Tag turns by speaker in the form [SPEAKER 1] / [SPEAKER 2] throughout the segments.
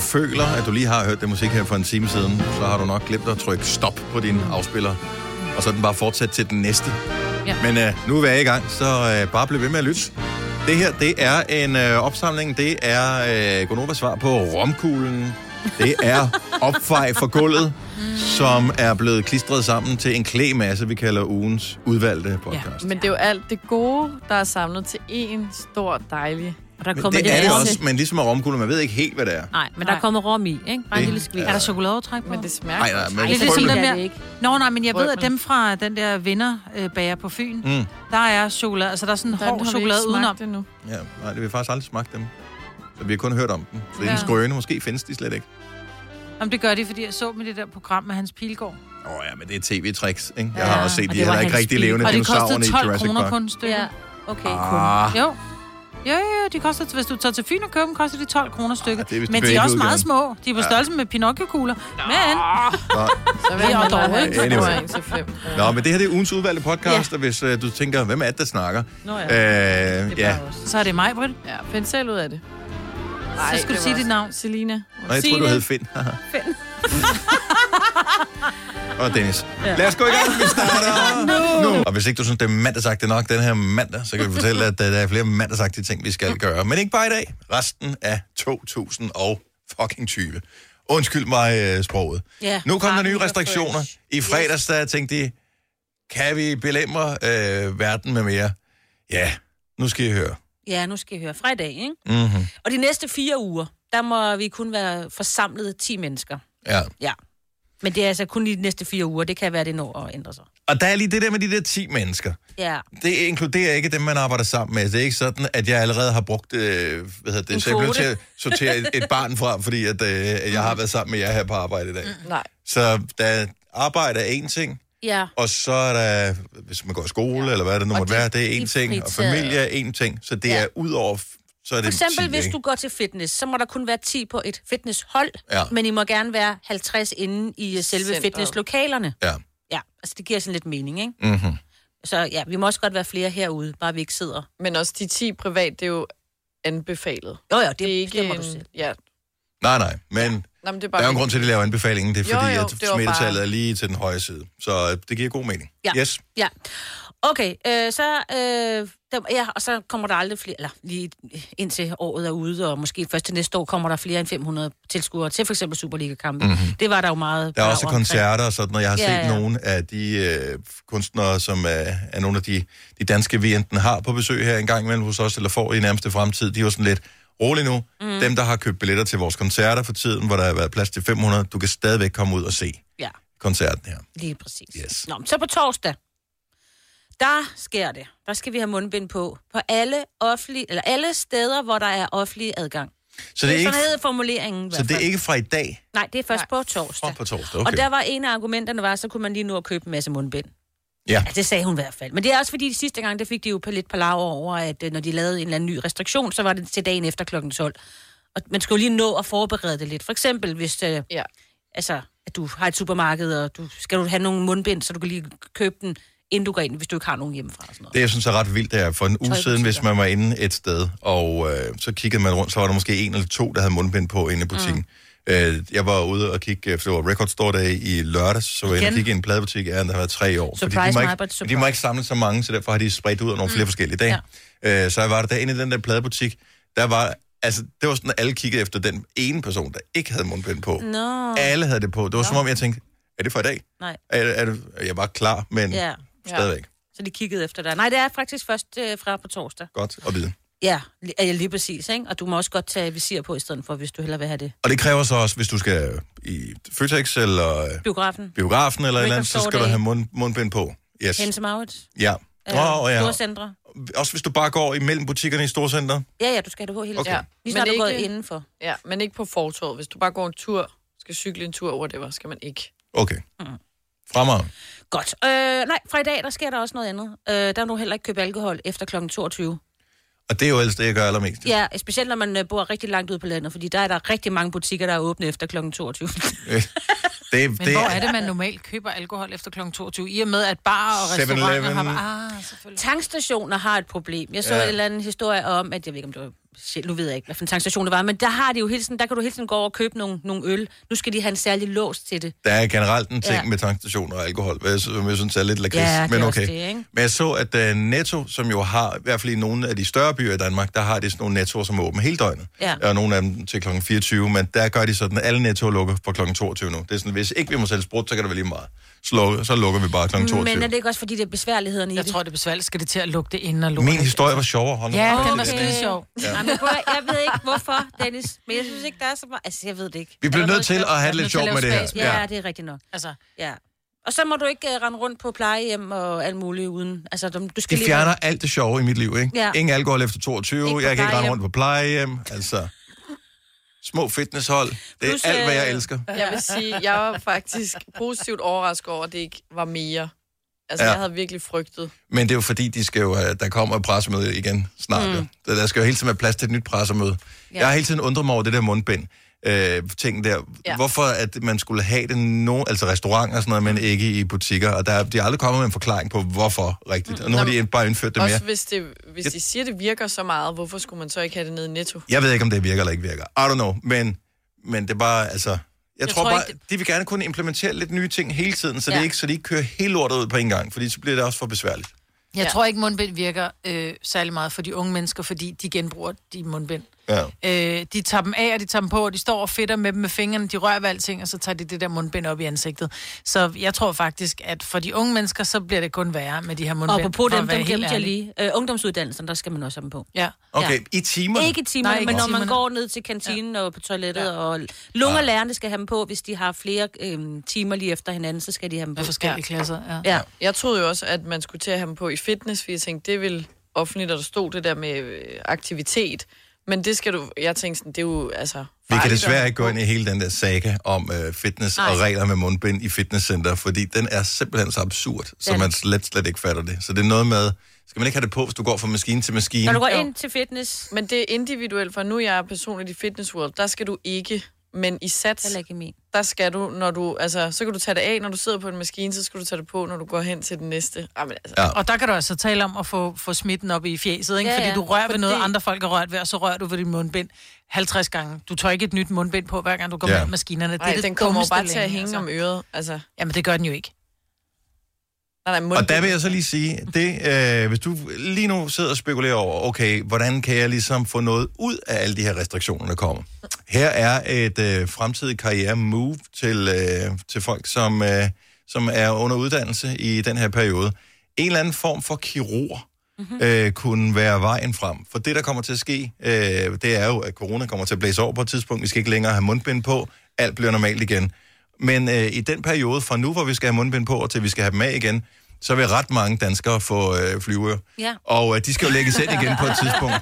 [SPEAKER 1] føler, at du lige har hørt den musik her for en time siden, så har du nok glemt at trykke stop på din afspiller. Og så er den bare fortsat til den næste.
[SPEAKER 2] Ja.
[SPEAKER 1] Men øh, nu er vi i gang, så øh, bare bliv ved med at lytte. Det her, det er en øh, opsamling. Det er øh, Gonovas svar på romkuglen. Det er opfej fra gulvet, som er blevet klistret sammen til en klæmasse, vi kalder ugens udvalgte podcast. Ja.
[SPEAKER 3] Men det er jo alt det gode, der er samlet til én stor dejlig.
[SPEAKER 2] Og der
[SPEAKER 1] Men
[SPEAKER 2] kommer
[SPEAKER 1] det er det
[SPEAKER 2] masse-
[SPEAKER 1] også, men ligesom med romkuglen, man ved ikke helt, hvad det er.
[SPEAKER 2] Nej, men der
[SPEAKER 3] Nej.
[SPEAKER 2] kommer rom i, ikke? Bare en
[SPEAKER 1] Det
[SPEAKER 2] lille skvis.
[SPEAKER 1] er-
[SPEAKER 2] Er der chokoladeovertræk på?
[SPEAKER 3] Men det ligesom smager
[SPEAKER 1] Ej, nej,
[SPEAKER 3] godt.
[SPEAKER 1] men
[SPEAKER 2] Ej, det er
[SPEAKER 1] prøv
[SPEAKER 2] sådan
[SPEAKER 1] lige-
[SPEAKER 2] der-
[SPEAKER 4] Det
[SPEAKER 2] mere-
[SPEAKER 4] er det ikke.
[SPEAKER 5] Nå, nej, men jeg ved, at
[SPEAKER 3] Brødmen.
[SPEAKER 5] dem fra den der vinderbager på Fyn,
[SPEAKER 1] Mm.
[SPEAKER 5] der er chokolade, altså der er sådan
[SPEAKER 3] Den har
[SPEAKER 5] hård
[SPEAKER 3] vi ikke
[SPEAKER 5] chokolade
[SPEAKER 3] smagt
[SPEAKER 5] udenom.
[SPEAKER 3] endnu.
[SPEAKER 1] Ja, nej, det vi har faktisk aldrig smagt dem. Så vi har kun hørt om dem. Så det er en
[SPEAKER 5] Ja.
[SPEAKER 1] skrøne. Måske findes de slet ikke.
[SPEAKER 5] Jamen, det gør de, fordi jeg så med det der program med Hans Pilgaard.
[SPEAKER 1] Åh oh, ja, men det er tv-tricks, ikke? Jeg har også set,
[SPEAKER 2] og
[SPEAKER 1] de
[SPEAKER 2] det var
[SPEAKER 1] heller ikke
[SPEAKER 2] hans
[SPEAKER 1] rigtig
[SPEAKER 2] bil.
[SPEAKER 1] levende
[SPEAKER 5] Og det
[SPEAKER 1] dinosaurerne
[SPEAKER 5] kostede
[SPEAKER 1] i
[SPEAKER 5] 12
[SPEAKER 1] Jurassic
[SPEAKER 5] kroner
[SPEAKER 1] Park.
[SPEAKER 5] kun et stykke.
[SPEAKER 4] Ja,
[SPEAKER 5] Ja.
[SPEAKER 4] okay, kun.
[SPEAKER 1] Ah,
[SPEAKER 5] Jo. Jo, jo, jo, de koster, hvis du tager til Fyn og køber dem, koster de 12 kroner stykket.
[SPEAKER 1] Ah, det er vist
[SPEAKER 5] men
[SPEAKER 1] den
[SPEAKER 5] de er også
[SPEAKER 1] babyudgaven.
[SPEAKER 5] meget små. De er på størrelse med Pinocchio-kugler. Men
[SPEAKER 3] Så vil
[SPEAKER 5] Det er
[SPEAKER 3] jeg
[SPEAKER 5] dog
[SPEAKER 3] dog
[SPEAKER 5] ikke.
[SPEAKER 3] ikke. Det
[SPEAKER 1] Anyway.
[SPEAKER 3] var en til fem.
[SPEAKER 1] Nå, men det her det er ugens udvalgte podcast, ja. og hvis øh, du tænker, hvem er det, der snakker?
[SPEAKER 4] Nå ja.
[SPEAKER 1] ja. Øh,
[SPEAKER 4] Det er
[SPEAKER 1] ja.
[SPEAKER 4] bare os.
[SPEAKER 5] så er det mig, Britt.
[SPEAKER 3] Ja, find selv ud af det.
[SPEAKER 5] Så skal du sige dit navn.
[SPEAKER 3] Selina.
[SPEAKER 1] Nå, jeg tror du
[SPEAKER 4] Signe.
[SPEAKER 1] hed Finn. Finn. og Dennis. Ja. Lad os gå i gang, vi starter nu. Og hvis ikke du synes, det er mandagsagtigt nok den her mandag, så kan vi fortælle, at øh, der er flere mandagsagtige ting, vi skal gøre. Men ikke bare i dag. Resten af 2020. Undskyld mig øh, sproget.
[SPEAKER 5] Ja.
[SPEAKER 1] Nu kom der nye
[SPEAKER 4] Parken er
[SPEAKER 1] restriktioner.
[SPEAKER 4] fresh.
[SPEAKER 1] I fredags der tænkte de, kan vi belemre øh, verden med mere? Ja, nu skal I høre.
[SPEAKER 4] Ja, nu skal I høre. Fra i dag, ikke?
[SPEAKER 1] Mm-hmm.
[SPEAKER 4] Og de næste fire uger, der må vi kun være forsamlet 10 mennesker.
[SPEAKER 1] Ja.
[SPEAKER 4] Ja. Men det er altså kun i de næste fire uger. Det kan være, det når at ændre sig.
[SPEAKER 1] Og der er lige det der med de der 10 mennesker.
[SPEAKER 4] Ja.
[SPEAKER 1] Det inkluderer ikke dem, man arbejder sammen med. Det er ikke sådan, at jeg allerede har brugt, øh, hvad hedder det, så jeg blev
[SPEAKER 4] kvote.
[SPEAKER 1] til at sortere et, et barn fra, fordi at, øh, at jeg har været sammen med jer her på arbejde i dag.
[SPEAKER 3] Nej.
[SPEAKER 1] Så der arbejde er en ting,
[SPEAKER 4] Ja.
[SPEAKER 1] og så er der, hvis man går i skole, ja. eller hvad det nu
[SPEAKER 4] Og
[SPEAKER 1] måtte
[SPEAKER 4] de-
[SPEAKER 1] være, det er en
[SPEAKER 4] de
[SPEAKER 1] ting, og
[SPEAKER 4] fritager.
[SPEAKER 1] familie er en ting. Så det
[SPEAKER 4] Ja.
[SPEAKER 1] er ud over, f- så er det
[SPEAKER 4] For eksempel,
[SPEAKER 1] 10,
[SPEAKER 4] hvis
[SPEAKER 1] ikke?
[SPEAKER 4] du går til fitness, så må der kun være 10 på et fitnesshold,
[SPEAKER 1] Ja.
[SPEAKER 4] men I må gerne være 50 inde i øh, selve
[SPEAKER 3] Centret.
[SPEAKER 4] fitnesslokalerne.
[SPEAKER 1] Ja.
[SPEAKER 4] Ja, altså det giver sådan lidt mening, ikke?
[SPEAKER 1] Mm-hmm.
[SPEAKER 4] Så ja, vi må også godt være flere herude, bare vi ikke sidder.
[SPEAKER 3] Men også de 10 privat, det er jo anbefalet.
[SPEAKER 4] Jo, jo, det,
[SPEAKER 3] Det er ikke
[SPEAKER 4] bestemmer
[SPEAKER 3] en...
[SPEAKER 4] du selv.
[SPEAKER 3] Ja.
[SPEAKER 1] Nej, nej, men
[SPEAKER 3] Nå, men det
[SPEAKER 1] Der
[SPEAKER 3] er bare...
[SPEAKER 1] er jo en grund til, at de laver anbefalingen. Det er
[SPEAKER 3] Jo,
[SPEAKER 1] fordi,
[SPEAKER 3] jo,
[SPEAKER 1] at
[SPEAKER 3] det var
[SPEAKER 1] smittetallet
[SPEAKER 3] bare-
[SPEAKER 1] er lige til den høje side. Så øh, det giver god mening.
[SPEAKER 4] Ja.
[SPEAKER 1] Yes.
[SPEAKER 4] Ja. Okay, øh, så, øh, der, ja, og så kommer der aldrig flere, eller lige indtil året er ude, og måske først til næste år kommer der flere end 500 tilskuere til for eksempel Superliga-kampe. Mm-hmm. Det var der jo meget.
[SPEAKER 1] Mhm. Der er
[SPEAKER 4] brav
[SPEAKER 1] også
[SPEAKER 4] omkring.
[SPEAKER 1] koncerter og sådan, og jeg har
[SPEAKER 4] Ja,
[SPEAKER 1] set
[SPEAKER 4] ja.
[SPEAKER 1] nogle af de øh, kunstnere, som øh, er nogle af de, de danske, vi enten har på besøg her en gang imellem hos os, eller får i nærmeste fremtid, de er jo sådan lidt rolig nu. Mm. Dem, der har købt billetter til vores koncerter for tiden, hvor der har været plads til 500, du kan stadigvæk komme ud og se
[SPEAKER 4] Ja.
[SPEAKER 1] koncerten her.
[SPEAKER 4] Lige præcis.
[SPEAKER 1] Yes.
[SPEAKER 4] Nå, men så på torsdag, der sker det. Der skal vi have mundbind på. På alle, offentlige, eller alle steder, hvor der er offentlig adgang.
[SPEAKER 1] Så
[SPEAKER 4] Det
[SPEAKER 1] det
[SPEAKER 4] er
[SPEAKER 1] er ikke,
[SPEAKER 4] sådan hedder formuleringen. i
[SPEAKER 1] så
[SPEAKER 4] hvert
[SPEAKER 1] det er
[SPEAKER 4] fald.
[SPEAKER 1] ikke fra i dag
[SPEAKER 4] Nej, det er først på
[SPEAKER 1] og
[SPEAKER 4] torsdag.
[SPEAKER 1] på torsdag.
[SPEAKER 4] Okay. Og
[SPEAKER 1] Okay.
[SPEAKER 4] der var en af argumenterne, var, så kunne man lige nu at købe en masse mundbind.
[SPEAKER 1] Ja.
[SPEAKER 4] Ja, det sagde hun i hvert fald. Men det er også fordi, de sidste gang, der fik de jo lidt palaver over, at øh, når de lavede en eller anden ny restriktion, så var det til dagen efter klokken 12. Og man skulle jo lige nå at forberede det lidt. For eksempel, hvis øh,
[SPEAKER 3] Ja.
[SPEAKER 4] altså, at du har et supermarked, og du skal du have nogle mundbind, så du kan lige købe den, inden du går ind, hvis du ikke har nogen hjemmefra. Og sådan noget.
[SPEAKER 1] Det, jeg synes er ret vildt, det er, for en uge siden, hvis man var inde et sted, og øh, så kiggede man rundt, så var der måske en eller to, der havde mundbind på inde i butikken. Mm. Øh, jeg var ude og kigge, øh, for det var Record Store Day i lørdags, så var jeg inde og
[SPEAKER 5] Igen?
[SPEAKER 1] kigge i en pladebutik, ja, der har været tre år. fordi
[SPEAKER 4] Surprise,
[SPEAKER 1] de, må ikke,
[SPEAKER 4] Majbert,
[SPEAKER 1] men de
[SPEAKER 4] surprise.
[SPEAKER 1] må ikke samle så mange, så derfor har de spredt ud over nogle mm. flere forskellige dage. Ja. Øh, så jeg var der derinde i den der pladebutik, der var, altså, det var sådan, at alle kiggede efter den ene person, der ikke havde mundbind på. Mm.
[SPEAKER 4] Nå,
[SPEAKER 1] Alle havde det på. Det var som om, jeg tænkte, er det for i dag?
[SPEAKER 4] nej.
[SPEAKER 1] Er, er det, jeg var klar, men ja.
[SPEAKER 4] Ja,
[SPEAKER 1] stadigvæk.
[SPEAKER 4] så de kiggede efter dig. Nej, det er faktisk først øh, fra på torsdag.
[SPEAKER 1] Godt at vide.
[SPEAKER 4] Ja, li- ja, lige præcis, ikke? Og du må også godt tage visir på i stedet for, hvis du hellere vil have det.
[SPEAKER 1] Og det kræver så også, hvis du skal øh, i Føtex eller øh,
[SPEAKER 4] Biografen.
[SPEAKER 1] biografen eller et eller andet, så
[SPEAKER 4] Store
[SPEAKER 1] skal du
[SPEAKER 4] Dage.
[SPEAKER 1] have mund, mundbind på. Yes.
[SPEAKER 4] Hense Maurits.
[SPEAKER 1] Ja. Oh, ja.
[SPEAKER 4] Storcentre.
[SPEAKER 1] Også hvis du bare går imellem butikkerne i Storcenter.
[SPEAKER 4] Ja, ja, du skal have det på hele
[SPEAKER 1] Okay.
[SPEAKER 4] okay.
[SPEAKER 3] Ja.
[SPEAKER 4] tiden. Lige snart
[SPEAKER 3] Men
[SPEAKER 4] du er
[SPEAKER 3] ikke-
[SPEAKER 4] gået indenfor.
[SPEAKER 3] ja, men ikke på fortorvet. Hvis du bare går en tur, skal cykle en tur, whatever, skal man ikke.
[SPEAKER 1] Okay.
[SPEAKER 5] Mm.
[SPEAKER 1] Fremad.
[SPEAKER 4] Godt. Øh, nej, fra i dag, der sker der også noget andet. Øh, der må du heller ikke købe alkohol efter kl. 22.
[SPEAKER 1] Og det er jo ellers det, jeg gør allermest.
[SPEAKER 4] Ja, specielt når man øh, bor rigtig langt ude på landet, fordi der er der rigtig mange butikker, der er åbne efter kl. 22.
[SPEAKER 1] Det,
[SPEAKER 5] Men det... hvor er det, man normalt køber alkohol efter kl. 22? I og med, at barer og
[SPEAKER 1] 7-Eleven.
[SPEAKER 5] restauranter har... Ah, selvfølgelig.
[SPEAKER 4] Tankstationer har et problem. Jeg så
[SPEAKER 1] Ja.
[SPEAKER 4] ja. en eller anden historie om, at jeg ved ikke, om det var shit, nu ved jeg ikke, hvad for en tankstation det var, men der har de jo hele tiden, der kan du hele tiden gå over og købe nogle, nogle øl. Nu skal de have en særlig lås til det.
[SPEAKER 1] Der er generelt en ting ja.
[SPEAKER 4] Ja.
[SPEAKER 1] med tankstationer og alkohol, hvad jeg, sy- som jeg synes er lidt lakrids,
[SPEAKER 4] Ja, det er
[SPEAKER 1] men
[SPEAKER 4] også
[SPEAKER 1] okay.
[SPEAKER 4] det, ikke?
[SPEAKER 1] men jeg så, at uh, Netto, som jo har, i hvert fald i nogle af de større byer i Danmark, der har de sådan nogle Nettoer, som er åbne hele døgnet.
[SPEAKER 4] Ja.
[SPEAKER 1] Og nogle af dem til kl. 24, men der gør de sådan, at alle Nettoer lukker fra kl. 22 nu. Det er sådan, hvis ikke vi må sælge sprut, så kan det være lige meget. Så lukker, så lukker vi bare kl. 22.
[SPEAKER 4] Men er det ikke også, fordi det er besværlighederne i
[SPEAKER 5] Jeg
[SPEAKER 4] det?
[SPEAKER 5] tror, det er besværligt. Skal det til at lukke det ind og lukke
[SPEAKER 1] Min historie var sjovere. Hold nu
[SPEAKER 5] Ja,
[SPEAKER 1] op.
[SPEAKER 5] den var skide sjov.
[SPEAKER 4] Ja. Jamen, prøv, at- jeg ved ikke, hvorfor, Dennis, men jeg synes ikke, der er så meget... Altså, jeg ved det ikke.
[SPEAKER 1] Vi bliver nødt til at have det
[SPEAKER 5] Jeg er
[SPEAKER 1] lidt
[SPEAKER 5] nødt til
[SPEAKER 1] sjovt
[SPEAKER 5] at
[SPEAKER 1] med det
[SPEAKER 5] lave
[SPEAKER 1] her.
[SPEAKER 5] spas.
[SPEAKER 4] Ja, ja. det er rigtigt nok.
[SPEAKER 5] Altså,
[SPEAKER 4] Ja. Og så må du ikke uh, rende rundt på plejehjem og alt muligt uden... Altså, du, du skal
[SPEAKER 1] De
[SPEAKER 4] lige...
[SPEAKER 1] fjerner alt det sjove i mit liv, ikke?
[SPEAKER 4] Ja.
[SPEAKER 1] Ingen alkohol efter 22,
[SPEAKER 4] Ikke på
[SPEAKER 1] jeg kan ikke rende
[SPEAKER 4] plejehjem.
[SPEAKER 1] rundt på plejehjem, altså... Små fitnesshold, det er
[SPEAKER 4] Plus,
[SPEAKER 1] alt, hvad jeg
[SPEAKER 4] øh,
[SPEAKER 1] elsker.
[SPEAKER 3] Jeg vil sige, jeg var faktisk positivt overrasket over, at det ikke var mere. Altså,
[SPEAKER 1] Ja.
[SPEAKER 3] ja. jeg havde virkelig frygtet.
[SPEAKER 1] Men det er jo fordi, de skal jo, have- der kommer et pressemøde igen snart. Mm. Jo. Der skal jo hele tiden være plads til et nyt pressemøde. Ja.
[SPEAKER 4] Ja.
[SPEAKER 1] Jeg har hele tiden undret mig over det der mundbind. Øh, ting der. Ja.
[SPEAKER 3] Ja.
[SPEAKER 1] Hvorfor at man skulle have det no, altså restauranter og sådan noget,
[SPEAKER 4] Mm.
[SPEAKER 1] men ikke i butikker. Og der, er- de er aldrig kommet med en forklaring på, hvorfor rigtigt. Og nu har
[SPEAKER 3] Nå,
[SPEAKER 1] de bare indført det mere.
[SPEAKER 3] Også hvis, det, hvis de siger, det virker så meget, hvorfor skulle man så ikke have det nede i netto?
[SPEAKER 1] Jeg ved ikke, om det virker eller ikke virker. I don't know, men, men det er bare, altså... Jeg, jeg tror,
[SPEAKER 5] tror
[SPEAKER 1] tror bare,
[SPEAKER 5] ikke,
[SPEAKER 1] ikke... de vil gerne kunne implementere lidt nye ting hele tiden, så, ja. det ikke, så de ikke kører hele lortet ud på en gang, fordi så bliver det også for besværligt.
[SPEAKER 5] jeg
[SPEAKER 3] Ja.
[SPEAKER 5] tror ikke, mundbind virker øh, særlig meget for de unge mennesker, fordi de genbruger de mundbind.
[SPEAKER 1] Ja.
[SPEAKER 5] Øh, de tager dem af, og de tager dem på, og de står og fedter med dem med fingrene, de rører ved alting, og så tager de det der mundbind op i ansigtet. Så jeg tror faktisk, at for de unge mennesker, så bliver det kun værre med de her
[SPEAKER 4] Og
[SPEAKER 5] mundbind.
[SPEAKER 4] apropos
[SPEAKER 5] for at
[SPEAKER 4] dem,
[SPEAKER 5] være
[SPEAKER 4] dem
[SPEAKER 5] helt
[SPEAKER 4] glemte jeg
[SPEAKER 5] ærlig.
[SPEAKER 4] lige. Øh, ungdomsuddannelsen, der skal man også have dem på.
[SPEAKER 5] Ja.
[SPEAKER 1] Okay, ja. i timer.
[SPEAKER 4] Ikke i timerne,
[SPEAKER 5] Nej, ikke
[SPEAKER 4] men
[SPEAKER 5] i
[SPEAKER 4] når man
[SPEAKER 5] timerne.
[SPEAKER 4] går ned til kantinen ja. og på toilettet, ja. og lunge og lærerne skal have dem på, hvis de har flere øhm, timer lige efter hinanden, så skal de have dem på.
[SPEAKER 5] Med forskellige klasser, ja.
[SPEAKER 4] Ja. ja.
[SPEAKER 3] Jeg troede jo også, at man skulle til at have dem på i fitness, fordi jeg tænkte, det ville offentligt, og der stod det der med øh, aktivitet. Men det skal du... Jeg tænkte sådan, det er jo altså...
[SPEAKER 1] Vi kan
[SPEAKER 3] farligt
[SPEAKER 1] desværre
[SPEAKER 3] at-
[SPEAKER 1] ikke gå ind i hele den der saga om øh, fitness Ej.
[SPEAKER 4] Nej.
[SPEAKER 1] og regler med mundbind i fitnesscenter, fordi den er simpelthen så absurd, så
[SPEAKER 4] Den-
[SPEAKER 1] man slet, slet ikke fatter det. Så det er noget med, skal man ikke have det på, hvis du går fra maskine til maskine?
[SPEAKER 4] Når du går
[SPEAKER 3] Jo.
[SPEAKER 4] ind til fitness,
[SPEAKER 3] Men det er individuelt, for nu jeg er personligt i Fitness World, der skal du ikke, men i sats,
[SPEAKER 4] heller ikke i min.
[SPEAKER 3] der skal du, når du, altså, så kan du tage det af, når du sidder på en maskine, så skal du tage det på, når du går hen til den næste. Ej, men altså,
[SPEAKER 1] Ja.
[SPEAKER 3] ja.
[SPEAKER 5] Og der kan du altså tale om at få, få smitten op i fjeset, ikke?
[SPEAKER 4] Ja,
[SPEAKER 5] Ja, fordi
[SPEAKER 4] ja.
[SPEAKER 5] du rører ved noget,
[SPEAKER 3] Fordi-
[SPEAKER 5] andre folk har rørt ved, og så rører du ved din mundbind 50 gange. Du tør ikke et nyt mundbind på, hver gang du går
[SPEAKER 1] Ja.
[SPEAKER 5] ja. med maskinerne. Det er
[SPEAKER 3] Ej,
[SPEAKER 5] det
[SPEAKER 3] den kommer jo
[SPEAKER 5] dummeste
[SPEAKER 3] bare til at
[SPEAKER 5] længe,
[SPEAKER 3] hænge altså. om øret. Altså,
[SPEAKER 5] Jamen, det gør den jo ikke.
[SPEAKER 3] nej, nej,
[SPEAKER 1] Og der vil jeg så lige sige, det, øh, hvis du lige nu sidder og spekulerer over, okay, hvordan kan jeg ligesom få noget ud af alle de her restriktioner, der kommer? Her er et øh, fremtidigt karriere-move til, øh, til folk, som, øh, som er under uddannelse i den her periode. En eller anden form for kirurg mm-hmm. øh, kunne være vejen frem. For det, der kommer til at ske, øh, det er jo, at corona kommer til at blæse over på et tidspunkt. Vi skal ikke længere have mundbind på. Alt bliver normalt igen. Men øh, i den periode fra nu, hvor vi skal have mundbind på, og til vi skal have dem af igen, så vil ret mange danskere få øh, flyveører.
[SPEAKER 4] Ja.
[SPEAKER 1] Og øh, de skal jo lægges ind igen på et tidspunkt.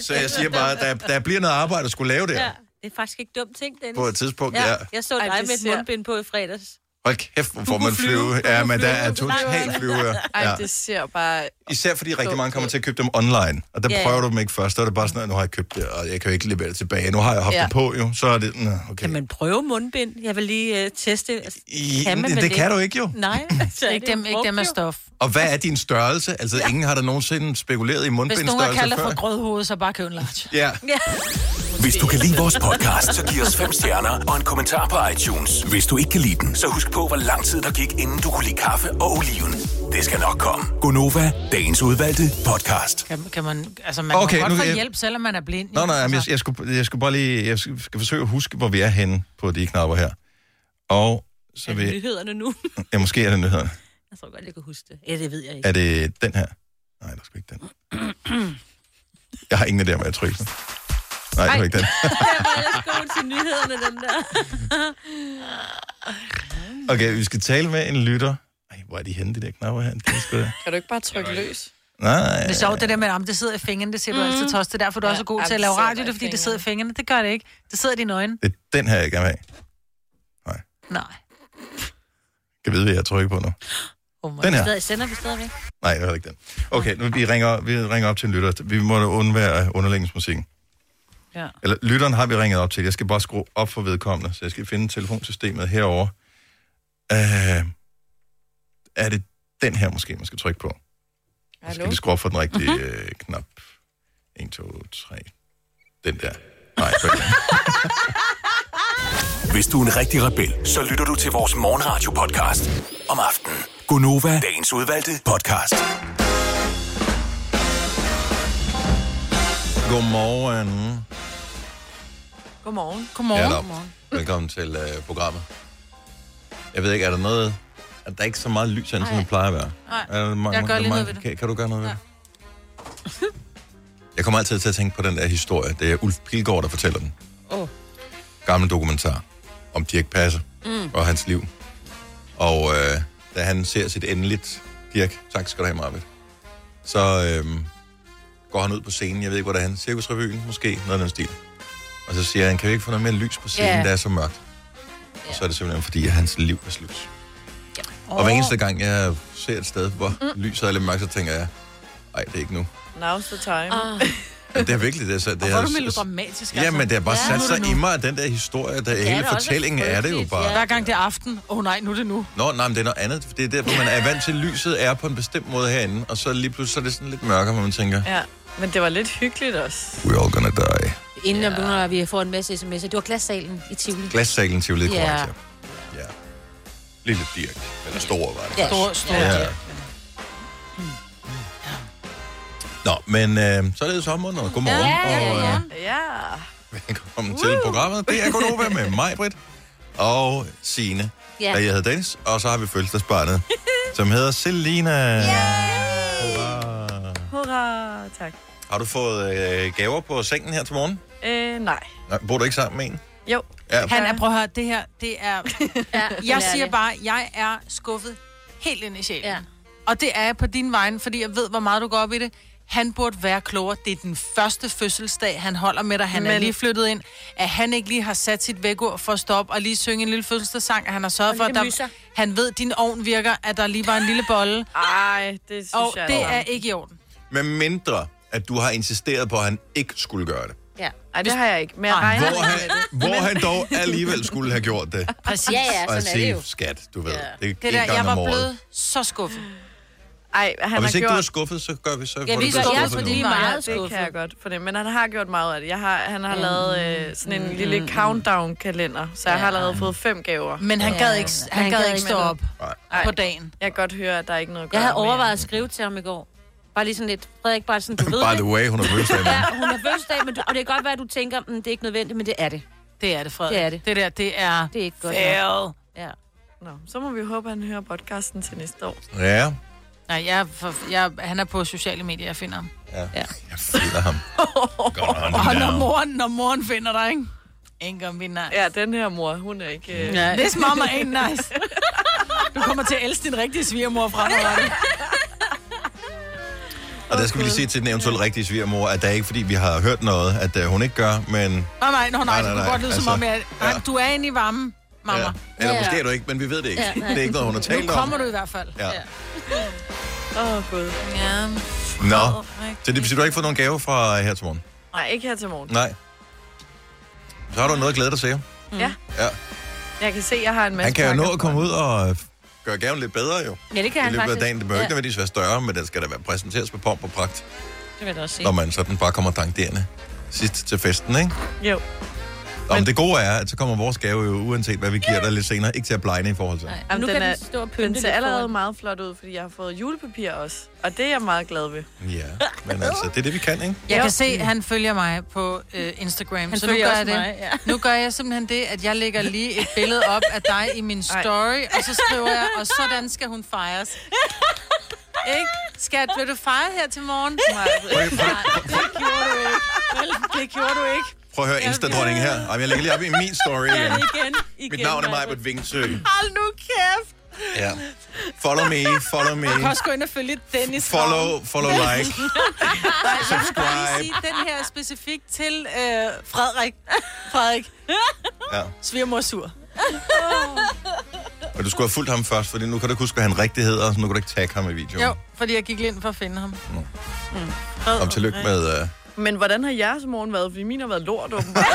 [SPEAKER 1] Så jeg siger bare, der, der bliver noget arbejde at skulle lave der ja.
[SPEAKER 4] Ja. Det er faktisk ikke dumt ting, Dennis.
[SPEAKER 1] på et tidspunkt. Ja.
[SPEAKER 4] ja.
[SPEAKER 1] Ja.
[SPEAKER 4] Jeg så dig
[SPEAKER 3] Ej, det
[SPEAKER 4] med et
[SPEAKER 3] ser-
[SPEAKER 4] mundbind på i fredags.
[SPEAKER 1] Hold kæft, hvor får
[SPEAKER 3] kunne
[SPEAKER 1] man
[SPEAKER 3] flyve,
[SPEAKER 1] flyve.
[SPEAKER 3] du
[SPEAKER 1] Ja,
[SPEAKER 3] kunne
[SPEAKER 1] men der
[SPEAKER 3] flyve,
[SPEAKER 1] er
[SPEAKER 3] du kunne
[SPEAKER 1] totalt flyveører.
[SPEAKER 3] Ej,
[SPEAKER 1] Ja.
[SPEAKER 3] det ser bare...
[SPEAKER 1] Især fordi rigtig mange kommer
[SPEAKER 3] ud.
[SPEAKER 1] til at købe dem online. Og der
[SPEAKER 4] Ja, ja.
[SPEAKER 1] prøver du dem ikke først. Så er det bare sådan, at nu har jeg købt det, og jeg kan jo ikke levere det tilbage. Nu har jeg haft
[SPEAKER 3] Ja.
[SPEAKER 1] det på jo. Så er det, nå, okay.
[SPEAKER 4] Kan man prøve mundbind? Jeg vil lige uh, teste. Altså,
[SPEAKER 1] I,
[SPEAKER 4] kan man
[SPEAKER 1] det,
[SPEAKER 4] vel
[SPEAKER 1] det kan
[SPEAKER 4] ikke?
[SPEAKER 1] du ikke jo.
[SPEAKER 4] Nej, så
[SPEAKER 5] Ikke dem, ikke dem af stof.
[SPEAKER 1] Og hvad er din størrelse? Altså, ingen har da nogensinde spekuleret i
[SPEAKER 5] Hvis nogen har
[SPEAKER 1] mundbindstørrelse
[SPEAKER 5] kaldt
[SPEAKER 1] altså
[SPEAKER 5] dig
[SPEAKER 1] før.
[SPEAKER 5] for grødhoved, så bare køb en large.
[SPEAKER 1] Ja.
[SPEAKER 2] Hvis du kan lide vores podcast, så giv os fem stjerner og en kommentar på iTunes. Hvis du ikke kan lide den, så husk på, hvor lang tid der gik, inden du kunne lide kaffe og oliven. Det skal nok komme. Gonova, dagens udvalgte podcast.
[SPEAKER 5] Kan, kan man, altså, man
[SPEAKER 1] Okay,
[SPEAKER 5] okay, kan
[SPEAKER 1] nu
[SPEAKER 5] godt få
[SPEAKER 1] kan jeg-
[SPEAKER 5] hjælp, selvom man er blind.
[SPEAKER 1] Nå,
[SPEAKER 5] ikke?
[SPEAKER 1] nej, men jeg,
[SPEAKER 5] Altså,
[SPEAKER 1] jeg, skulle, jeg skulle bare lige... Jeg skal, skal forsøge at huske, hvor vi er henne på de knapper her. Og så vil jeg...
[SPEAKER 4] Nyhederne nu.
[SPEAKER 1] Ja, måske er det nyhederne.
[SPEAKER 4] Jeg tror godt, jeg kan huske det. Ja, det ved jeg ikke.
[SPEAKER 1] Er det den her? Nej, det er sgu ikke den. Jeg har ingen idé om, hvad jeg trykker. på. Nej, det var ikke den.
[SPEAKER 4] Jeg skal til nyhederne, den der.
[SPEAKER 1] Okay, vi skal tale med en lytter. Ej, hvor er de henne, de der knapper her? Det er sgu...
[SPEAKER 3] Kan du ikke bare trykke løs?
[SPEAKER 1] Nej.
[SPEAKER 5] Det er sjovt, det der med, om det sidder i fingrene, det siger du altid, Toste. Derfor er du
[SPEAKER 3] Ja,
[SPEAKER 5] også så god
[SPEAKER 3] Mhm. ja,
[SPEAKER 5] til at
[SPEAKER 3] det
[SPEAKER 5] lave
[SPEAKER 3] sidder
[SPEAKER 5] radio, det
[SPEAKER 3] i
[SPEAKER 5] er fordi, det
[SPEAKER 3] fingrene.
[SPEAKER 5] sidder i fingrene. Det gør det ikke. Det sidder i dine øjne.
[SPEAKER 1] Det er den her, jeg gerne vil have.
[SPEAKER 5] Nej.
[SPEAKER 1] Kan vide, hvad jeg trykker på nu.
[SPEAKER 5] Oh my
[SPEAKER 1] Den her.
[SPEAKER 4] Stadig, sender vi stadigvæk.
[SPEAKER 1] Nej, det var ikke den. Okay, nu vi ringer, vi ringer op til en lytter. Vi må da undvære underlægningsmusikken.
[SPEAKER 5] Ja.
[SPEAKER 1] Eller lytteren har vi ringet op til. Jeg skal bare skrue op for vedkommende, så jeg skal finde telefonsystemet herover. Øh, er det den her måske, man skal trykke på? Jeg skal
[SPEAKER 3] Hallo?
[SPEAKER 1] øh,
[SPEAKER 5] Mhm.
[SPEAKER 1] lige skrue op for den rigtige mm-hmm. knap. 1, 2, 3. den der. Nej, okay.
[SPEAKER 2] Hvis du er en rigtig rebel, så lytter du til vores morgenradio-podcast om aftenen. Gunova, dagens udvalgte podcast.
[SPEAKER 1] Godmorgen.
[SPEAKER 3] Godmorgen.
[SPEAKER 1] Ja,
[SPEAKER 5] Godmorgen.
[SPEAKER 1] dog. Velkommen til øh, programmet. Jeg ved ikke, er der noget... Er der ikke så meget lys herinde, som det plejer at være?
[SPEAKER 5] Nej.
[SPEAKER 1] Er der mange,
[SPEAKER 5] Jeg gør
[SPEAKER 1] er der
[SPEAKER 5] lige noget
[SPEAKER 1] mange-
[SPEAKER 5] ved det.
[SPEAKER 1] Kan, kan du gøre noget ved det? Jeg kommer altid til at tænke på den der historie. Det er Ulf Pilgaard, der fortæller den.
[SPEAKER 4] Åh.
[SPEAKER 1] Gammel dokumentar om Dirk Passer mm. og hans liv. Og øh, da han ser sit endeligt... Dirk, tak skal du have, Marvitt. Så øh, går han ud på scenen. Jeg ved ikke, hvor det er han. Cirkusrevyen måske. Noget af den stil. Og så siger han, kan vi ikke få noget mere lys på scenen,
[SPEAKER 4] Ja.
[SPEAKER 1] yeah. der er så mørkt? Yeah. Og så er det simpelthen, fordi at hans liv er slut. Yeah. Og hver eneste gang, jeg ser et sted, hvor mm. lyset er lidt mørkt, så tænker jeg, nej, det er ikke nu.
[SPEAKER 3] Now's the time.
[SPEAKER 4] Ah,
[SPEAKER 1] Ja, det er virkelig det. Så det
[SPEAKER 5] Hvor er du
[SPEAKER 1] s-
[SPEAKER 5] melodramatisk, altså.
[SPEAKER 1] Ja,
[SPEAKER 3] altså?
[SPEAKER 1] men det er bare sat
[SPEAKER 4] Ja.
[SPEAKER 5] Nu er det
[SPEAKER 1] sig
[SPEAKER 5] nu.
[SPEAKER 1] i mig, at den der historie, der
[SPEAKER 4] er
[SPEAKER 1] hele
[SPEAKER 4] da også
[SPEAKER 1] fortællingen er det jo
[SPEAKER 4] frygteligt,
[SPEAKER 1] bare.
[SPEAKER 4] ja.
[SPEAKER 5] Hver gang det er aften. Åh oh, nej, nu er det nu.
[SPEAKER 1] Nå, nej, men det er noget andet. Det er derfor, man er vant til, at lyset er på en bestemt måde herinde, og så lige pludselig så er det sådan lidt mørkere, hvor man tænker,
[SPEAKER 3] Ja, men det var lidt hyggeligt også.
[SPEAKER 1] we're all gonna die.
[SPEAKER 4] inden jeg begynder, at vi får en masse sms'er. Det var glassalen i Tivoli.
[SPEAKER 1] Glassalen til lidt
[SPEAKER 4] Ja.
[SPEAKER 1] korrekt, ja. ja. Lille Dirk, eller stor var det.
[SPEAKER 4] Ja.
[SPEAKER 5] Stor, stor.
[SPEAKER 1] Ja.
[SPEAKER 5] Ja.
[SPEAKER 1] Ja. Nå, men øh, så er det sommeren, og godmorgen,
[SPEAKER 4] Ja, ja,
[SPEAKER 1] og øh,
[SPEAKER 4] ja.
[SPEAKER 3] Ja.
[SPEAKER 1] velkommen til programmet. Det er Gonova med mig, Britt, og Signe,
[SPEAKER 4] Ja.
[SPEAKER 1] ja. og jeg hedder Dennis, og så har vi fødselsdagsbarnet, som hedder Selina. Hurra.
[SPEAKER 3] Hurra, tak.
[SPEAKER 1] Har du fået øh, gaver på sengen her til morgen?
[SPEAKER 3] Øh, nej.
[SPEAKER 1] Nej, bor du ikke sammen med en?
[SPEAKER 3] Jo.
[SPEAKER 1] Ja,
[SPEAKER 5] Han er, prøv at høre, det her, det er...
[SPEAKER 4] Ja,
[SPEAKER 5] Jeg siger bare, jeg er skuffet helt ind i sjælen.
[SPEAKER 4] Ja.
[SPEAKER 5] Ja. Og det er jeg på din vegne, fordi jeg ved, hvor meget du går op i det. Han burde være klogere. Det er den første fødselsdag, han holder med dig. Han Men... er
[SPEAKER 3] Men-
[SPEAKER 5] lige flyttet ind. At han ikke lige har sat sit vækord for at stoppe og lige synge en lille fødselsdagssang. At han har sørget for, at
[SPEAKER 4] lille
[SPEAKER 5] der...
[SPEAKER 4] myser.
[SPEAKER 5] han ved, at din ovn virker, at der lige var en lille bolle.
[SPEAKER 3] Ej, det synes
[SPEAKER 5] Og
[SPEAKER 3] jeg
[SPEAKER 5] det
[SPEAKER 3] altså.
[SPEAKER 5] er ikke i orden.
[SPEAKER 1] med mindre, at du har insisteret på, at han ikke skulle gøre det.
[SPEAKER 4] Ja,
[SPEAKER 3] Ej, det har jeg ikke. Men jeg regner
[SPEAKER 1] Hvor han, hvor han dog alligevel skulle have gjort det.
[SPEAKER 5] Præcis.
[SPEAKER 4] ja, ja
[SPEAKER 1] og at
[SPEAKER 4] sådan er det jo.
[SPEAKER 1] sige, skat, du ved, det er
[SPEAKER 5] Det
[SPEAKER 1] en
[SPEAKER 5] der,
[SPEAKER 1] gang
[SPEAKER 5] jeg var
[SPEAKER 1] om året.
[SPEAKER 5] blevet så skuffet.
[SPEAKER 3] Ej, han
[SPEAKER 1] Og hvis
[SPEAKER 3] har
[SPEAKER 1] ikke
[SPEAKER 3] gjort...
[SPEAKER 1] du er skuffet, så gør vi så. får
[SPEAKER 4] vi
[SPEAKER 1] du
[SPEAKER 4] gør-
[SPEAKER 1] bedst
[SPEAKER 4] ja,
[SPEAKER 1] skuffet
[SPEAKER 4] fordi-
[SPEAKER 1] nu.
[SPEAKER 4] er meget
[SPEAKER 3] det
[SPEAKER 4] skuffet.
[SPEAKER 3] kan jeg godt fornemme. Men han har gjort meget af det. Jeg har, han
[SPEAKER 5] Mm.
[SPEAKER 3] har lavet øh, sådan en lille countdown-kalender, så jeg har allerede fået fem gaver.
[SPEAKER 5] Men han gad ikke, han gad ikke stå
[SPEAKER 4] med
[SPEAKER 5] op
[SPEAKER 1] Nej.
[SPEAKER 5] på dagen.
[SPEAKER 3] Jeg kan godt høre, at der er ikke noget at
[SPEAKER 4] Jeg havde
[SPEAKER 3] gøre
[SPEAKER 4] overvejet at skrive til ham i går. Bare lige sådan lidt, Frederik, bare sådan, du ved
[SPEAKER 1] By
[SPEAKER 4] det.
[SPEAKER 1] the way, hun har fødselsdag. i morgen.
[SPEAKER 4] Ja, hun har fødselsdag, men du, og det kan godt være, at du tænker, mm, det er ikke nødvendigt, men det er det.
[SPEAKER 5] Det er det, Frederik.
[SPEAKER 4] Det er det.
[SPEAKER 5] Det der, det er...
[SPEAKER 4] Det er ikke godt nok.
[SPEAKER 5] Fail.
[SPEAKER 4] Ja.
[SPEAKER 3] mere. Nå, så må vi håbe, at han hører podcasten til næste år.
[SPEAKER 1] Ja,
[SPEAKER 5] Nej, jeg, er for, jeg, han er på sociale medier, jeg finder ham.
[SPEAKER 1] ja. Jeg finder ham. Godt on
[SPEAKER 5] Og når
[SPEAKER 1] down.
[SPEAKER 5] moren, når moren finder dig, ikke? Ingen om vinder.
[SPEAKER 3] Ja, den her mor, hun er ikke... Øh...
[SPEAKER 5] Ja. This mama ain't nice. Du kommer til at elske din rigtige svigermor fremadrettet.
[SPEAKER 1] Og der skal vi lige sige til den eventuelle rigtige svigermor, at det er ikke fordi, vi har hørt noget, at øh, hun ikke gør, men...
[SPEAKER 5] Nej, nej, nej, nej,
[SPEAKER 1] nej,
[SPEAKER 5] det kunne
[SPEAKER 1] nej,
[SPEAKER 5] godt lyde
[SPEAKER 1] altså,
[SPEAKER 5] som om, jeg,
[SPEAKER 1] ja.
[SPEAKER 5] nej, du er inde i varmen, mamma.
[SPEAKER 1] Ja. Eller måske er du ikke, men vi ved det ikke. Det er ikke noget, hun har talt
[SPEAKER 5] Nu
[SPEAKER 1] om.
[SPEAKER 5] kommer du i hvert fald.
[SPEAKER 1] Ja.
[SPEAKER 3] Åh, oh, gud.
[SPEAKER 5] ja.
[SPEAKER 1] Nå, så det betyder, du har ikke fået nogen gave fra her til morgen?
[SPEAKER 3] Nej, ikke her til morgen.
[SPEAKER 1] Nej. Så har du noget at glæde dig til.
[SPEAKER 3] Ja.
[SPEAKER 1] Ja.
[SPEAKER 3] Jeg kan se, at jeg har en masse
[SPEAKER 1] Han kan jo nå
[SPEAKER 3] pakker
[SPEAKER 1] at
[SPEAKER 3] foran.
[SPEAKER 1] komme ud og øh, gøre gaven lidt bedre, jo.
[SPEAKER 4] ja, det kan
[SPEAKER 1] I
[SPEAKER 4] han
[SPEAKER 1] løbet af
[SPEAKER 4] faktisk.
[SPEAKER 1] dagen. Det behøver ikke
[SPEAKER 4] ja,
[SPEAKER 1] nødvendigvis være større, men den skal da være præsenteres med pomp og pragt,
[SPEAKER 4] det vil jeg også sige.
[SPEAKER 1] når man sådan bare kommer dankderende sidst til festen, ikke?
[SPEAKER 3] Jo.
[SPEAKER 1] Nå, men det gode er, at så kommer vores gave jo, uanset hvad vi giver dig lidt senere, ikke til at blegne i forhold til.
[SPEAKER 4] Nej, men
[SPEAKER 3] Jamen,
[SPEAKER 4] nu
[SPEAKER 3] den
[SPEAKER 4] kan
[SPEAKER 3] er-
[SPEAKER 4] den stå og pynte
[SPEAKER 3] Den ser
[SPEAKER 4] lidt
[SPEAKER 3] allerede
[SPEAKER 4] foran.
[SPEAKER 3] meget flot ud, fordi jeg har fået julepapir også. Og det er jeg meget glad ved.
[SPEAKER 1] Ja, men altså, det er det, vi kan, ikke?
[SPEAKER 5] Jeg
[SPEAKER 3] Ja.
[SPEAKER 5] kan se, at han følger mig på øh, Instagram. Han så nu
[SPEAKER 4] følger
[SPEAKER 5] gør,
[SPEAKER 4] også
[SPEAKER 5] jeg det.
[SPEAKER 4] mig, ja.
[SPEAKER 5] nu gør jeg simpelthen det, at jeg lægger lige et billede op af dig i min story, Ej. og så skriver jeg, og sådan skal hun fejres. Ikke? Skat, vil du fejre her til morgen? Nej,
[SPEAKER 1] Prøv, prøv,
[SPEAKER 5] det gjorde du ikke. Vel, det gjorde du ikke.
[SPEAKER 1] prøv at høre Insta-dronningen her. Ej, men jeg lægger lige op i min story igen. Mit navn er Majbert Vingsø.
[SPEAKER 5] Hold nu kæft.
[SPEAKER 1] Ja. Follow me, follow me.
[SPEAKER 5] Du kan også gå ind og følge Dennis. Ravn.
[SPEAKER 1] Follow, follow like.
[SPEAKER 5] Nej, jeg vil bare
[SPEAKER 1] subscribe.
[SPEAKER 5] lige sige, den her er specifikt til øh, Frederik. Frederik,
[SPEAKER 1] Ja.
[SPEAKER 5] svigermor sur.
[SPEAKER 1] Og du skulle have fulgt ham først, for nu kan du ikke huske, hvad han rigtig hedder, så nu kan du ikke tagge ham i videoen.
[SPEAKER 5] Jo, fordi jeg gik lige ind for at finde ham.
[SPEAKER 1] Kom tillykke med... Uh...
[SPEAKER 3] Men hvordan har jeres morgen været? Fordi min har været lort, åbenbart.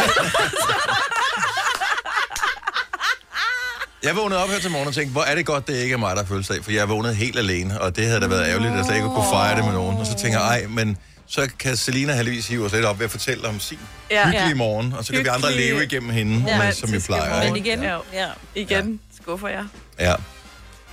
[SPEAKER 1] Jeg vågnede op her til morgen og tænkte, hvor er det godt, det ikke er mig, der har fødselsdag, for jeg vågnede helt alene, og det havde da været ærgerligt, at jeg slet ikke kunne fejre det med nogen. Og så tænker jeg, ej, men så kan Selina heldigvis hive os lidt op ved at fortælle om sin
[SPEAKER 3] Ja.
[SPEAKER 1] ja, hyggelige
[SPEAKER 3] Ja.
[SPEAKER 1] morgen, og så kan vi andre
[SPEAKER 3] Hyggelige,
[SPEAKER 1] leve igennem hende, ja, som vi
[SPEAKER 3] romantiske
[SPEAKER 1] plejer.
[SPEAKER 3] morgen.
[SPEAKER 1] ikke?
[SPEAKER 4] Men igen,
[SPEAKER 3] Ja.
[SPEAKER 4] ja.
[SPEAKER 3] Igen skuffer jeg.
[SPEAKER 1] Ja.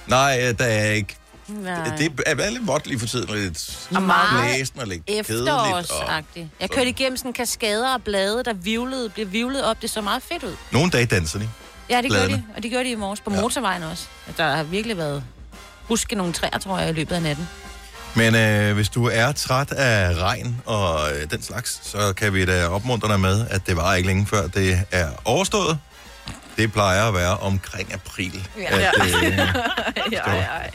[SPEAKER 1] Nej, øh, der er ikke...
[SPEAKER 4] Nej.
[SPEAKER 1] Det er bare lidt vådt lige for tiden, og lidt
[SPEAKER 4] Og meget
[SPEAKER 1] blæsende og lidt kedeligt. Og...
[SPEAKER 4] efterårsagtigt. Jeg kørte igennem sådan kaskader og blade, der vivlede, blev vivlet op. Det så meget fedt ud.
[SPEAKER 1] Nogle dage danser de.
[SPEAKER 4] Ja, det gjorde de.
[SPEAKER 1] Bladene.
[SPEAKER 4] Og det gjorde de i morges på
[SPEAKER 1] Ja.
[SPEAKER 4] motorvejen også. Der har virkelig været huske nogle træer, tror jeg, i løbet af natten.
[SPEAKER 1] Men øh, hvis du er træt af regn og øh, den slags, så kan vi da opmuntre dig med, at det var ikke længe før det er overstået. Det plejer at være omkring april. Ja. At, øh,
[SPEAKER 3] Ja, ja, ja.
[SPEAKER 1] ej, der,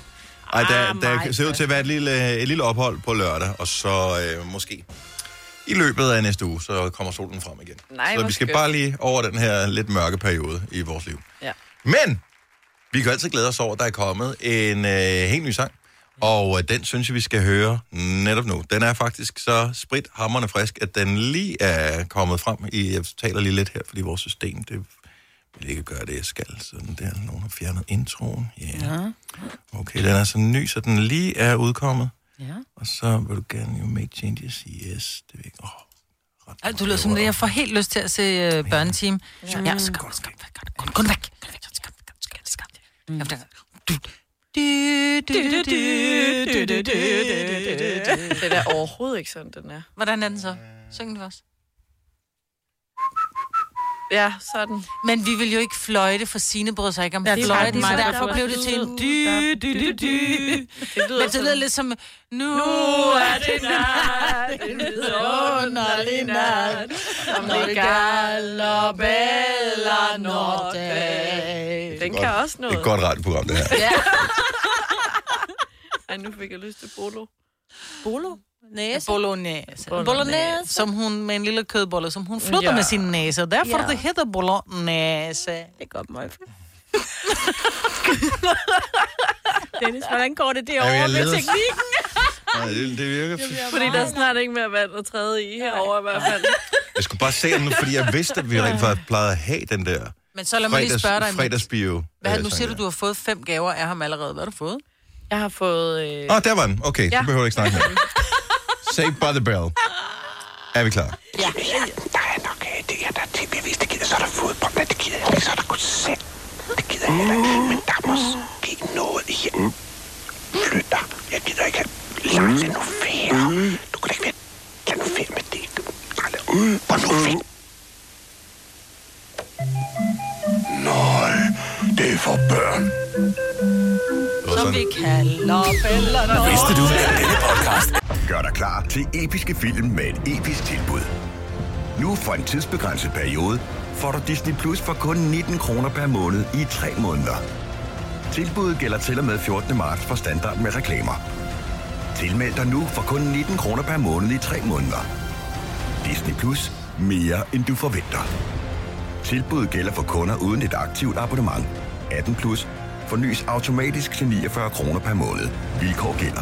[SPEAKER 4] Ah,
[SPEAKER 1] der
[SPEAKER 4] meget
[SPEAKER 1] ser ud til at være et lille, øh, et lille ophold på lørdag, og så øh, måske i løbet af næste uge, så kommer solen frem igen.
[SPEAKER 3] Nej,
[SPEAKER 1] så
[SPEAKER 3] hvor
[SPEAKER 1] vi skal
[SPEAKER 3] skønt.
[SPEAKER 1] bare lige over den her lidt mørke periode i vores liv.
[SPEAKER 3] ja.
[SPEAKER 1] Men vi kan altid glæde os over, at der er kommet en øh, helt ny sang. Og øh, den synes jeg, vi skal høre netop nu. Den er faktisk så sprit hammerne frisk, at den lige er kommet frem. I, jeg taler lige lidt her, fordi vores system det vil ikke gøre det, jeg skal. Sådan der. Nogen har fjernet introen. Yeah. Ja. Okay, den er så ny, så den lige er udkommet.
[SPEAKER 4] Ja.
[SPEAKER 1] Og så vil du gerne jo make changes. Yes, det vil ikke. Oh, ret
[SPEAKER 5] Ej, du lyder som det. Jeg får helt lyst til at se uh, børneteam. Ja, ja så kom, så kom, væk, kom, kom, kom væk. Kom væk, så kom, kom, så kom, så kom. Ja, for der- Du- du- du- du- du- du- du- du- du- du- du-
[SPEAKER 3] Det er da overhovedet ikke sådan, den er.
[SPEAKER 5] Hvordan er den så? Syng den for os.
[SPEAKER 3] Ja, sådan.
[SPEAKER 5] Men vi vil jo ikke fløjte, for Signe bryder sig ikke om
[SPEAKER 4] Ja, det er
[SPEAKER 5] fløjten,
[SPEAKER 4] faktisk
[SPEAKER 5] så
[SPEAKER 4] mig, der
[SPEAKER 5] derfor
[SPEAKER 4] får
[SPEAKER 5] blev det til en dy, dy, dy, dy.
[SPEAKER 3] Det lyder
[SPEAKER 5] Men det lyder lidt som, nu er det nat, en vidunderlig nat, om det gælder bella norte.
[SPEAKER 3] Den kan også
[SPEAKER 1] Det er et
[SPEAKER 3] noget.
[SPEAKER 1] godt radioprogram, det her.
[SPEAKER 3] Ej, nu fik jeg lyst til bolo.
[SPEAKER 4] Bolo? Næse?
[SPEAKER 5] Bolognese.
[SPEAKER 4] Bolognese.
[SPEAKER 5] Som hun med en lille kødbolle, som hun flytter ja.
[SPEAKER 3] Ja.
[SPEAKER 5] med sin næse. og Derfor
[SPEAKER 4] Ja.
[SPEAKER 5] ja. det hedder bolognese.
[SPEAKER 4] Det er godt, Møjfe. Dennis, hvordan går det
[SPEAKER 1] Jamen,
[SPEAKER 4] derovre
[SPEAKER 1] jeg
[SPEAKER 4] med
[SPEAKER 1] leder-
[SPEAKER 4] teknikken?
[SPEAKER 1] Nej, det, det virker
[SPEAKER 3] Fordi der er snart ikke mere vand at træde i herovre i hvert fald.
[SPEAKER 1] Jeg skulle bare se om nu, fordi jeg vidste, at vi rent faktisk plejede at have den der
[SPEAKER 5] Men så lad mig lige
[SPEAKER 1] fredags,
[SPEAKER 5] spørge dig. Fredags,
[SPEAKER 1] fredagsbio. Øh,
[SPEAKER 5] hvad, nu siger du, du har fået fem gaver af ham allerede. Hvad har du fået?
[SPEAKER 3] Jeg har fået... Øh...
[SPEAKER 1] Åh, oh, der var den. Okay, ja.
[SPEAKER 3] Ja.
[SPEAKER 1] så behøver du ikke snakke mere. Saved by the bell. Er vi klar?
[SPEAKER 2] Der er nok øh, det her, der er ting, jeg vidste, det gider. Så er der fodbold, men det gider jeg ikke. Så er der koncert, det gider jeg heller ikke. Men der er måske noget her. Flytter. Jeg gider ikke. Lars, lad nu være. Du kan da ikke være. Lad nu være med det. Nej, lad- Hvor nu fint. Nej, det er for børn.
[SPEAKER 1] Det var sådan.
[SPEAKER 5] kalder bella norte.
[SPEAKER 2] Vidste du, at denne podcast gør dig klar til episke film med et episk tilbud. Nu for en tidsbegrænset periode får du Disney Plus for kun 19 kroner per måned i 3 måneder. Tilbuddet gælder til og med 14. marts for standard med reklamer. Tilmeld dig nu for kun 19 kroner per måned i 3 måneder. Disney Plus. Mere end du forventer. Tilbuddet gælder for kunder uden et aktivt abonnement. 18 plus. Fornyes automatisk til 49 kroner per måned. Vilkår gælder.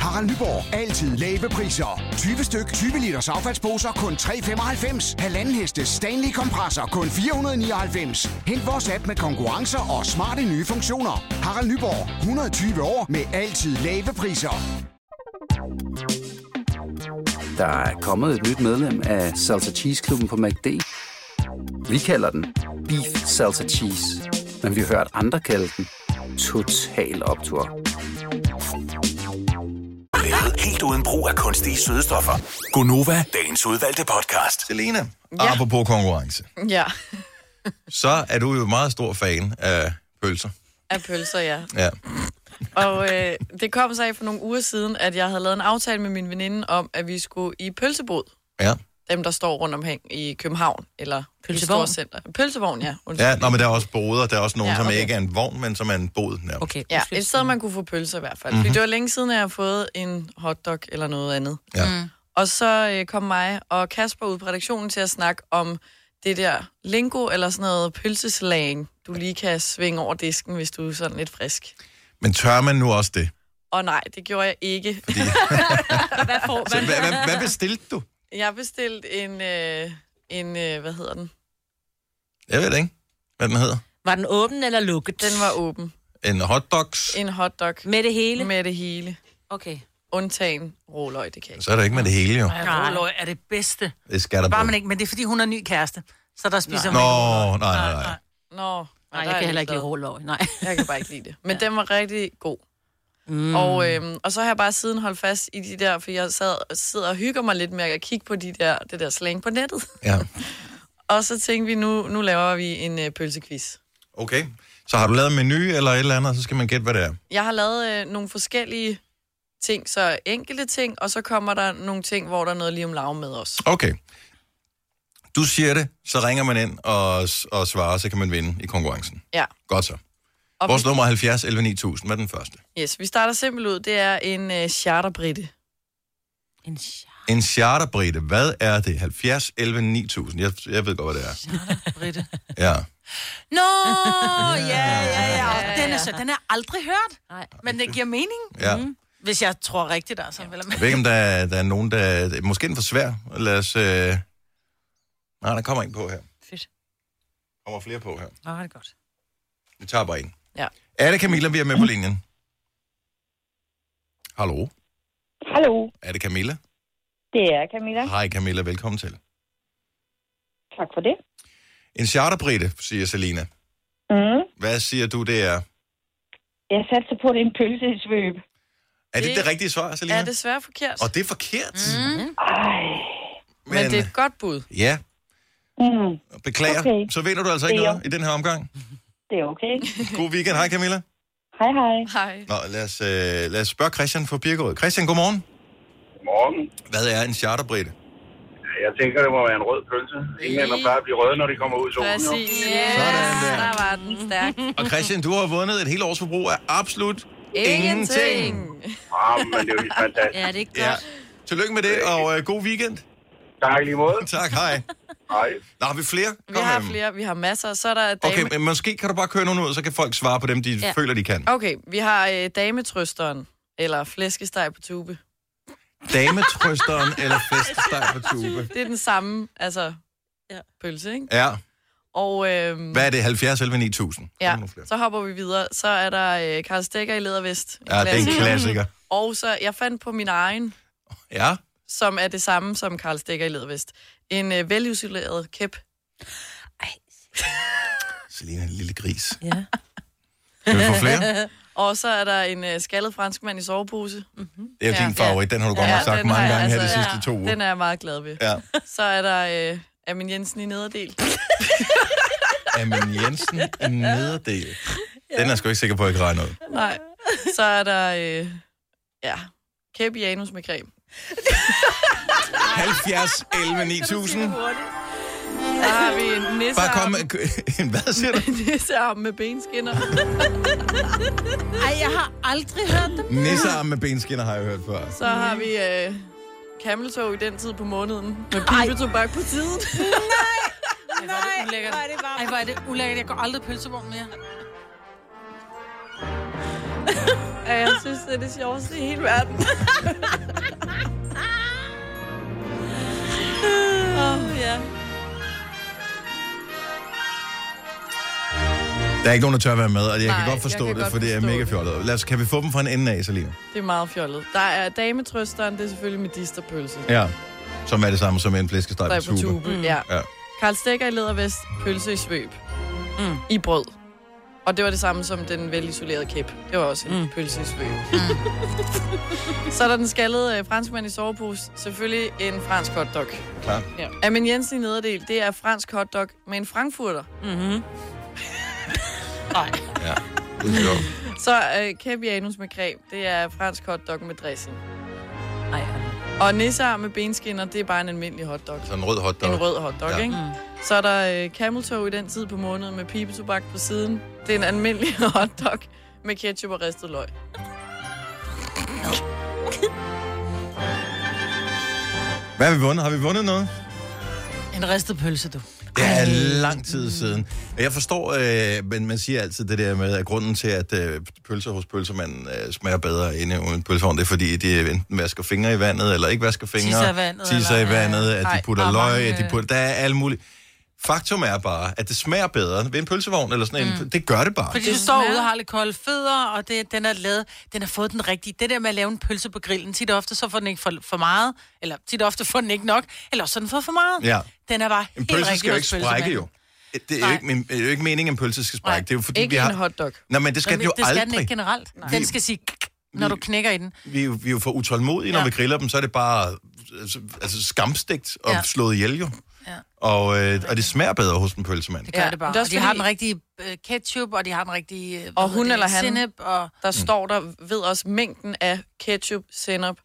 [SPEAKER 6] Harald Nyborg. Altid lave priser. 20 styk, 20 liters affaldsposer kun 3,95. Halvanden heste Stanley kompresser kun 499. Hent vores app med konkurrencer og smarte nye funktioner. Harald Nyborg. 120 år med altid lave priser.
[SPEAKER 7] Der er kommet et nyt medlem af Salsa Cheese Klubben på MACD. Vi kalder den Beef Salsa Cheese, men vi har hørt andre kalde den Total Optor.
[SPEAKER 2] Lavet helt uden brug af kunstige sødestoffer. Gonova, dagens udvalgte podcast.
[SPEAKER 1] Selena, ja.
[SPEAKER 3] Ja.
[SPEAKER 1] apropos konkurrence,
[SPEAKER 3] Ja,
[SPEAKER 1] så er du jo meget stor fan af pølser.
[SPEAKER 3] af pølser, ja.
[SPEAKER 1] Ja.
[SPEAKER 3] Og øh, det kom så af for nogle uger siden, at jeg havde lavet en aftale med min veninde om, at vi skulle i pølsebod.
[SPEAKER 1] ja.
[SPEAKER 3] dem, der står rundt omkring i København, eller
[SPEAKER 4] Pølsevogn?
[SPEAKER 3] i Storcenter. Pølsevogn, ja. Undskyld.
[SPEAKER 1] Ja, nå, men der er også boder. Der er også nogen, ja,
[SPEAKER 3] Ja,
[SPEAKER 1] okay. som
[SPEAKER 3] okay.
[SPEAKER 1] ikke er en vogn, men som er en bod nærmest.
[SPEAKER 4] Okay,
[SPEAKER 3] Ja,
[SPEAKER 4] undskyld.
[SPEAKER 3] et sted, man kunne få pølser i hvert fald. Mm-hmm. Fordi det var længe siden, at jeg har fået en hotdog eller noget andet.
[SPEAKER 1] Ja.
[SPEAKER 3] Mm. Og så øh, kom mig og Kasper ud på redaktionen til at snakke om det der lingo eller sådan noget pølseslang, du lige kan svinge over disken, hvis du er sådan lidt frisk.
[SPEAKER 1] Men tør man nu også det?
[SPEAKER 3] Og nej, det gjorde jeg ikke.
[SPEAKER 4] Hvad får,
[SPEAKER 1] Så, hvad, hvad, hvad bestilte du?
[SPEAKER 3] Jeg bestilte en, øh, en øh, hvad hedder den?
[SPEAKER 1] Jeg ved det ikke, hvad den hedder.
[SPEAKER 4] Var den åben eller lukket?
[SPEAKER 3] Den var åben.
[SPEAKER 1] En hotdogs.
[SPEAKER 3] En hotdog
[SPEAKER 4] Med det hele?
[SPEAKER 3] med det hele.
[SPEAKER 4] Okay.
[SPEAKER 3] Undtagen råløg, det kan jeg ikke.
[SPEAKER 1] Så er det ikke med det hele, jo.
[SPEAKER 5] Ja, råløg er det bedste.
[SPEAKER 1] Det skal der
[SPEAKER 5] Bare
[SPEAKER 1] på.
[SPEAKER 5] man ikke, men det er fordi, hun har ny kæreste. Så der
[SPEAKER 1] Nå,
[SPEAKER 5] spiser hun ikke råløg.
[SPEAKER 1] nej, nej, nej.
[SPEAKER 3] Nå,
[SPEAKER 4] Nej,
[SPEAKER 3] der
[SPEAKER 4] jeg
[SPEAKER 3] er
[SPEAKER 4] kan heller ikke
[SPEAKER 3] glad.
[SPEAKER 4] lide råløg. Nej.
[SPEAKER 3] Jeg kan bare ikke lide det. Men den var rigtig god. Mm. Og, øhm, og så har jeg bare siden holdt fast i de der, for jeg sad, sidder og hygger mig lidt med at kigge på de der, det der slang på nettet.
[SPEAKER 1] Ja.
[SPEAKER 3] Og så tænkte vi, nu, nu laver vi en øh, pølsequiz.
[SPEAKER 1] Okay. Så har du lavet en menu eller et eller andet, så skal man gætte, hvad det er.
[SPEAKER 3] Jeg har lavet øh, nogle forskellige ting, så enkelte ting, og så kommer der nogle ting, hvor der er noget lige om lav med os.
[SPEAKER 1] Okay. Du siger det, så ringer man ind og, og svarer, så kan man vinde i konkurrencen.
[SPEAKER 3] Ja.
[SPEAKER 1] Godt så.
[SPEAKER 3] Og
[SPEAKER 1] Vores nummer er 70 11 9000. Hvad er den første?
[SPEAKER 3] vi, yes, vi starter simpelthen ud. Det er en øh, charterbritte.
[SPEAKER 4] En char-
[SPEAKER 1] En charterbrite. Hvad er det? 70 11 9000. Jeg, jeg ved godt, hvad det er.
[SPEAKER 5] Britte.
[SPEAKER 1] Ja.
[SPEAKER 5] Nå, ja, ja, ja. Den er, så, den er aldrig hørt.
[SPEAKER 4] Nej.
[SPEAKER 5] Men det giver mening.
[SPEAKER 1] Ja.
[SPEAKER 5] Mhm. Hvis jeg tror rigtigt, altså. Ja.
[SPEAKER 1] Jeg ved ikke, om der er, der er nogen, der... Måske er den for svær. Lad os... Øh... Nej, der kommer en på her.
[SPEAKER 5] Fedt.
[SPEAKER 1] kommer flere på her.
[SPEAKER 5] Nå, det er godt.
[SPEAKER 1] Vi tager bare en.
[SPEAKER 3] Ja.
[SPEAKER 1] Er det Camilla, vi er med på linjen? Hallo?
[SPEAKER 8] Hallo,
[SPEAKER 1] Er det Camilla?
[SPEAKER 8] det er Camilla.
[SPEAKER 1] Hej Camilla, velkommen til.
[SPEAKER 8] Tak for det.
[SPEAKER 1] En charterbrite, siger Selina.
[SPEAKER 8] Mm.
[SPEAKER 1] Hvad siger du, det er?
[SPEAKER 8] Jeg satte sig på, at det er en pølse i svøb.
[SPEAKER 1] Er det
[SPEAKER 3] Det-
[SPEAKER 1] det rigtige svar, Selina?
[SPEAKER 3] Er desværre forkert,
[SPEAKER 1] Og det er forkert. Mm.
[SPEAKER 8] Ej.
[SPEAKER 1] Men,
[SPEAKER 3] men det er et godt bud.
[SPEAKER 1] Ja,
[SPEAKER 8] Mm.
[SPEAKER 1] beklager. Okay.
[SPEAKER 8] Okay.
[SPEAKER 1] Så vinder du altså ikke
[SPEAKER 8] Det er
[SPEAKER 1] noget i den her omgang.
[SPEAKER 8] Det er okay.
[SPEAKER 1] God weekend. Hej Camilla.
[SPEAKER 8] Hej, hej.
[SPEAKER 3] Hej.
[SPEAKER 1] Nå, lad os, øh, lad os spørge Christian fra Birkerød. Christian, godmorgen.
[SPEAKER 9] Morgen.
[SPEAKER 1] Hvad er en charterbrite?
[SPEAKER 9] Jeg tænker, det må være en rød pølse. Ingen ender plejer at blive røde, når de kommer ud i solen. jo.
[SPEAKER 3] Præcis. Yes,
[SPEAKER 1] Sådan der.
[SPEAKER 3] der var den stærk.
[SPEAKER 1] Og Christian, du har vundet et helt års forbrug af absolut ingenting.
[SPEAKER 3] Ingenting.
[SPEAKER 9] Ah, men det er jo helt fantastisk.
[SPEAKER 4] Ja, det er ikke
[SPEAKER 1] Ja.
[SPEAKER 4] godt.
[SPEAKER 1] Tillykke med det, og øh, god weekend.
[SPEAKER 9] Tak i lige måde.
[SPEAKER 1] Tak, hej.
[SPEAKER 9] Hej.
[SPEAKER 1] Nå, har vi flere? Kom
[SPEAKER 3] Vi har
[SPEAKER 1] med dem.
[SPEAKER 3] flere, vi har masser. Så er der dame...
[SPEAKER 1] Okay, men måske kan du bare køre nogle ud, så kan folk svare på dem, de ja.
[SPEAKER 4] Ja.
[SPEAKER 1] føler, de kan.
[SPEAKER 3] okay vi har øh, dametrøsteren, eller flæskesteg på tube.
[SPEAKER 1] Dametrøsteren eller feststeg på tube.
[SPEAKER 3] Det er den samme, altså,
[SPEAKER 4] Ja.
[SPEAKER 3] ja. pølse, ikke?
[SPEAKER 1] Ja,
[SPEAKER 3] Og øhm,
[SPEAKER 1] hvad er det? 70 11 9000?
[SPEAKER 3] ja,
[SPEAKER 1] Kom nu flere.
[SPEAKER 3] så hopper vi videre. Så er der øh, Karl Stikker i Ledervest.
[SPEAKER 1] Ja, det er en klassiker.
[SPEAKER 3] Og så, jeg fandt på min egen, Mm.
[SPEAKER 1] Ja,
[SPEAKER 3] som er det samme som Karl Stikker i Ledervest. En øh, velisoleret kæp.
[SPEAKER 1] Selina, en lille gris.
[SPEAKER 4] Ja.
[SPEAKER 1] Kan vi få flere?
[SPEAKER 3] Og så er der en øh, skaldet franskmand i sovepose.
[SPEAKER 1] Det er jo
[SPEAKER 3] Ja.
[SPEAKER 1] din favorit, den har du godt nok sagt
[SPEAKER 3] den
[SPEAKER 1] mange
[SPEAKER 3] har jeg,
[SPEAKER 1] gange her de
[SPEAKER 3] altså,
[SPEAKER 1] sidste to uger.
[SPEAKER 3] Den er jeg meget glad ved.
[SPEAKER 1] Ja,
[SPEAKER 3] Så er der øh, Amin Jensen i nederdel.
[SPEAKER 1] Amin Jensen, en nederdel. Den er jeg sgu ikke sikker på, at jeg kan regne ud.
[SPEAKER 3] Nej. Så er der, øh, ja, kæp i anus med creme.
[SPEAKER 1] 70 11 9000.
[SPEAKER 3] Så har vi en
[SPEAKER 1] Bare kom
[SPEAKER 3] nissearm,
[SPEAKER 1] med... en- Hvad siger du?
[SPEAKER 3] nissearm med benskinner.
[SPEAKER 4] Ej, jeg har aldrig hørt dem.
[SPEAKER 1] Nissearm med benskinner har jeg hørt før.
[SPEAKER 3] Så har vi øh, kameltog i den tid på måneden. Med pibetobak på tiden.
[SPEAKER 5] Nej, hvor er det varmt. Ej, hvor er det ulækkert. Jeg går aldrig i pølsevogn mere.
[SPEAKER 3] Ja, jeg synes, det er det sjoveste i hele verden. Åh, ja.
[SPEAKER 1] Der er ikke nogen, der tør være med, og jeg
[SPEAKER 3] Nej,
[SPEAKER 1] kan godt
[SPEAKER 3] jeg
[SPEAKER 1] forstå
[SPEAKER 3] kan
[SPEAKER 1] det,
[SPEAKER 3] godt
[SPEAKER 1] for det er
[SPEAKER 3] forstå
[SPEAKER 1] mega
[SPEAKER 3] det.
[SPEAKER 1] fjollet. Lad os, kan vi få dem fra en ende af, Selina?
[SPEAKER 3] Det er meget fjollet. Der er dametrøsteren, det er selvfølgelig med disterpølse.
[SPEAKER 1] Ja. Som er det samme som en flæskesteg
[SPEAKER 3] Der
[SPEAKER 1] på
[SPEAKER 3] er på
[SPEAKER 1] tube.
[SPEAKER 3] tube. Ja.
[SPEAKER 1] Ja.
[SPEAKER 3] Karl Stikker i Ledervest, pølse i svøb. Mm. I brød. Og det var det samme som den velisolerede kæp. Det var også en mm. pølse i svøb. Mm. så er der den skaldede øh, franskmand i sovepose. Selvfølgelig en fransk hotdog.
[SPEAKER 1] Klart.
[SPEAKER 3] Ja. Amin Jensen i nederdel, det er fransk hotdog med en frankfurter.
[SPEAKER 1] Ja. Det er sjovt.
[SPEAKER 3] Så øh, kæp i anus med creme, det er fransk hotdog med dressing.
[SPEAKER 4] Ej, ej.
[SPEAKER 3] Og nissearm med benskinner, det er bare en almindelig hotdog.
[SPEAKER 1] Sådan en rød hotdog.
[SPEAKER 3] En rød hotdog,
[SPEAKER 1] Ja.
[SPEAKER 3] ja. ikke? Så er der øh, cameltog i den tid på måneden med pibetobak på siden. Det er en almindelig hotdog med ketchup og ristet løg.
[SPEAKER 1] Hvad har vi vundet? Har vi vundet noget?
[SPEAKER 5] En ristet pølse, du.
[SPEAKER 1] Det er lang tid siden. Og Jeg forstår, øh, men man siger altid det der med, at grunden til, at øh, pølser hos pølsemanden øh, smager bedre end uden pølseovn, det er fordi, de enten vasker fingre i vandet, eller ikke vasker fingre.
[SPEAKER 5] Tisser i vandet,
[SPEAKER 1] Tisser i
[SPEAKER 5] eller-
[SPEAKER 1] vandet, at de
[SPEAKER 5] Ej,
[SPEAKER 1] putter
[SPEAKER 5] der er
[SPEAKER 1] løg,
[SPEAKER 5] mange,
[SPEAKER 1] at de
[SPEAKER 5] øh,
[SPEAKER 1] putter... Der er alt muligt. Faktum er bare, at det smager bedre ved en pølsevogn eller sådan en. Det gør det bare.
[SPEAKER 5] Mm. Fordi du står ude og har lidt kolde fødder, og det, den er lavet, den har fået den rigtige. Det der med at lave en pølse på grillen, tit og ofte så får den ikke for, for meget, eller tit og ofte får den ikke nok, eller også har den fået for meget.
[SPEAKER 1] Ja.
[SPEAKER 5] Den er bare
[SPEAKER 1] En
[SPEAKER 5] helt
[SPEAKER 1] pølse
[SPEAKER 5] rigtig
[SPEAKER 1] skal jo
[SPEAKER 5] hos
[SPEAKER 1] ikke sprække,
[SPEAKER 5] pølsemanden.
[SPEAKER 1] jo. Det er jo ikke, men, det er jo ikke meningen, at en pølse skal
[SPEAKER 5] Nej,
[SPEAKER 1] sprække. Det er jo fordi,
[SPEAKER 3] Ikke
[SPEAKER 1] vi har...
[SPEAKER 3] en hotdog.
[SPEAKER 1] Nej, men det skal
[SPEAKER 5] Nå,
[SPEAKER 1] den jo
[SPEAKER 5] det skal den
[SPEAKER 1] aldrig. Mm.
[SPEAKER 5] ikke generelt. Nej. Den skal sige, kik, når du knækker i den.
[SPEAKER 1] vi, er jo- vi er jo for utålmodige, når ja.
[SPEAKER 5] Ja.
[SPEAKER 1] vi griller dem, så er det bare altså, altså skamstegt og ja.
[SPEAKER 5] Ja.
[SPEAKER 1] slået ihjel jo. Ja. Og, øh, og det smager bedre hos en pølsemand.
[SPEAKER 5] Det gør
[SPEAKER 3] Ja,
[SPEAKER 5] ja, det bare.
[SPEAKER 3] men det er
[SPEAKER 5] Det
[SPEAKER 3] også
[SPEAKER 5] de har
[SPEAKER 3] fordi-
[SPEAKER 5] den rigtige øh, ketchup, og de har den rigtige øh, hvad
[SPEAKER 3] Og
[SPEAKER 5] hedder
[SPEAKER 3] hun
[SPEAKER 5] det,
[SPEAKER 3] eller han.
[SPEAKER 5] Sennep, og
[SPEAKER 3] Der står der ved også mængden af ketchup, sennep,